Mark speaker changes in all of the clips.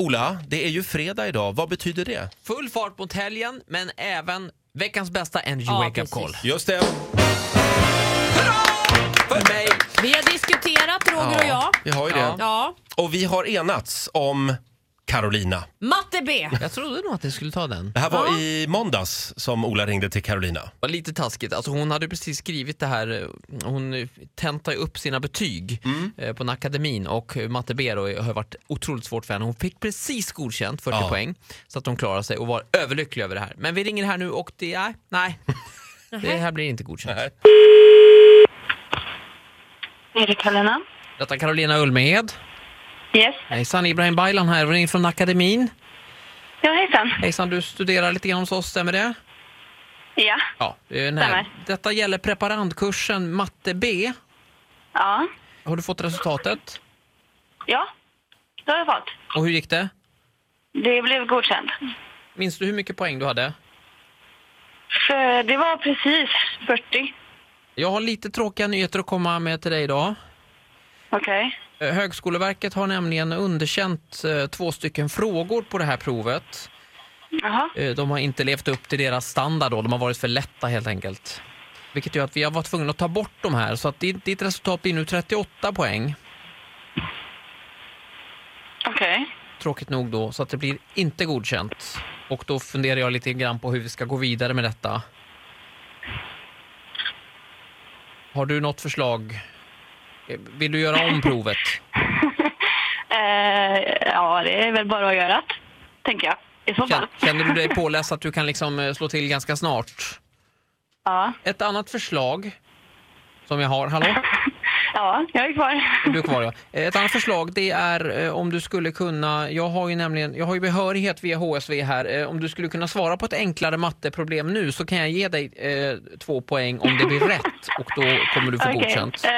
Speaker 1: Ola, det är ju fredag idag. Vad betyder det?
Speaker 2: Full fart mot helgen, men även veckans bästa Energy
Speaker 3: Ja,
Speaker 2: Wake Up
Speaker 3: precis.
Speaker 2: Call.
Speaker 1: Just det.
Speaker 2: För mig!
Speaker 3: Vi har diskuterat, Roger och jag.
Speaker 1: Vi har ju det.
Speaker 2: Ja.
Speaker 3: Ja.
Speaker 1: Och vi har enats om Carolina.
Speaker 3: Matte B.
Speaker 2: Jag trodde nog att ni skulle ta den.
Speaker 1: Det här var
Speaker 3: Ja.
Speaker 1: i måndags som Ola ringde till Carolina.
Speaker 2: var lite taskigt. Alltså hon hade precis skrivit det här, eh, hon eh, tentar ju upp sina betyg eh, på en akademin och eh, matte B då har varit otroligt svårt för henne. Hon fick precis godkänt 40
Speaker 1: Ja.
Speaker 2: poäng så att hon klarade sig och var överlycklig över det här. Men vi ringer här nu och det, nej, nej. det här blir inte godkänt.
Speaker 1: Nej.
Speaker 4: Är det Kalena?
Speaker 2: Detta är Carolina Ulmehed.
Speaker 4: Yes.
Speaker 2: Hejsan, Ibrahim Baylan här, ringer från akademin.
Speaker 4: Ja, hejsan.
Speaker 2: Hejsan, du studerar lite grann hos oss, stämmer det?
Speaker 4: Ja.
Speaker 2: Ja, eh, den här.
Speaker 4: Stämmer.
Speaker 2: Detta gäller preparandkursen matte B.
Speaker 4: Ja.
Speaker 2: Har du fått resultatet?
Speaker 4: Ja. Det har jag fått.
Speaker 2: Och hur gick det?
Speaker 4: Det blev godkänt.
Speaker 2: Minns du hur mycket poäng du hade?
Speaker 4: För det var precis 40.
Speaker 2: Jag har lite tråkiga nyheter att komma med till dig idag.
Speaker 4: Okej.
Speaker 2: Eh, Högskoleverket har nämligen underkänt eh, två stycken frågor på det här provet.
Speaker 4: Jaha.
Speaker 2: Eh, De har inte levt upp till deras standard då, de har varit för lätta helt enkelt. Vilket gör att vi har varit tvungna att ta bort de här, så att ditt ditt resultat blir nu 38 poäng.
Speaker 4: Okej.
Speaker 2: Tråkigt nog då, så att det blir inte godkänt. Och då funderar jag lite grann på hur vi ska gå vidare med detta. Har du något förslag? Eh, Vill du göra om provet?
Speaker 4: Eh, ja, det är väl bara att göra det, tänker jag. I så fall.
Speaker 2: Kän- Känner du dig påläst att du kan liksom eh, slå till ganska snart?
Speaker 4: Ja.
Speaker 2: Ett annat förslag som jag har, hallå?
Speaker 4: Ja, jag är kvar.
Speaker 2: Du är kvar ja. Eh, Ett annat förslag det är eh, om du skulle kunna, jag har ju nämligen, jag har ju behörighet via HSV här, Eh, om du skulle kunna svara på ett enklare matteproblem nu så kan jag ge dig eh, två poäng om det blir rätt och då kommer du få
Speaker 4: Okej.
Speaker 2: godkänt.
Speaker 4: Eh,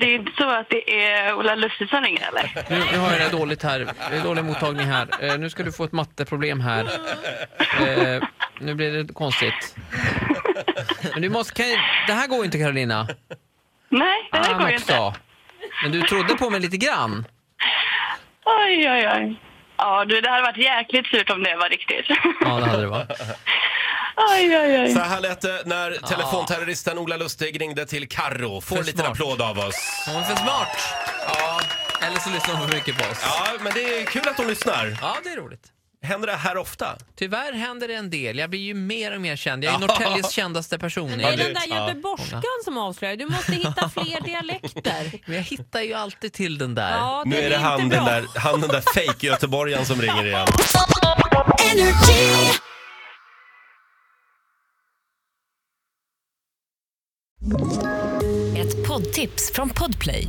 Speaker 4: det är inte så att det är Ola Lustig som ringer, eller?
Speaker 2: Nu, nu har jag det dåligt här, det är dålig mottagning här. Eh, nu ska du få ett matteproblem här. Eh, nu blir det konstigt. Men du måste, kan, det här går ju inte Carolina.
Speaker 4: Nej, det här
Speaker 2: Fan
Speaker 4: går ju inte.
Speaker 2: Men du trodde på mig lite grann.
Speaker 4: Oj, oj, oj. Ja, du, det hade varit jäkligt surt om det var riktigt.
Speaker 2: Ja, det hade det va.
Speaker 4: oj, oj, oj.
Speaker 1: Så här lät det när telefonterroristen Ola Lustig ringde till Karro. Får
Speaker 2: För
Speaker 1: en liten
Speaker 2: smart.
Speaker 1: applåd av oss.
Speaker 2: Hon är för smart. Ja, eller så lyssnar hon för mycket på oss. Ja,
Speaker 1: Ja, men det är kul att hon lyssnar.
Speaker 2: det är roligt.
Speaker 1: Händer det här ofta?
Speaker 2: Tyvärr händer det en del. Jag blir ju mer och mer känd. Jag är ju Norrtäljes kändaste person.
Speaker 3: Men det är
Speaker 2: Jag,
Speaker 3: den där göteborgskan som avslöjar. Du måste hitta fler dialekter.
Speaker 2: men jag hittar ju alltid till den där.
Speaker 3: Ja,
Speaker 1: Nu är
Speaker 3: blir
Speaker 1: det
Speaker 3: inte
Speaker 1: han
Speaker 3: bra.
Speaker 1: den där, han den där fake-göteborgaren som ringer igen.
Speaker 5: Ett poddtips från Podplay.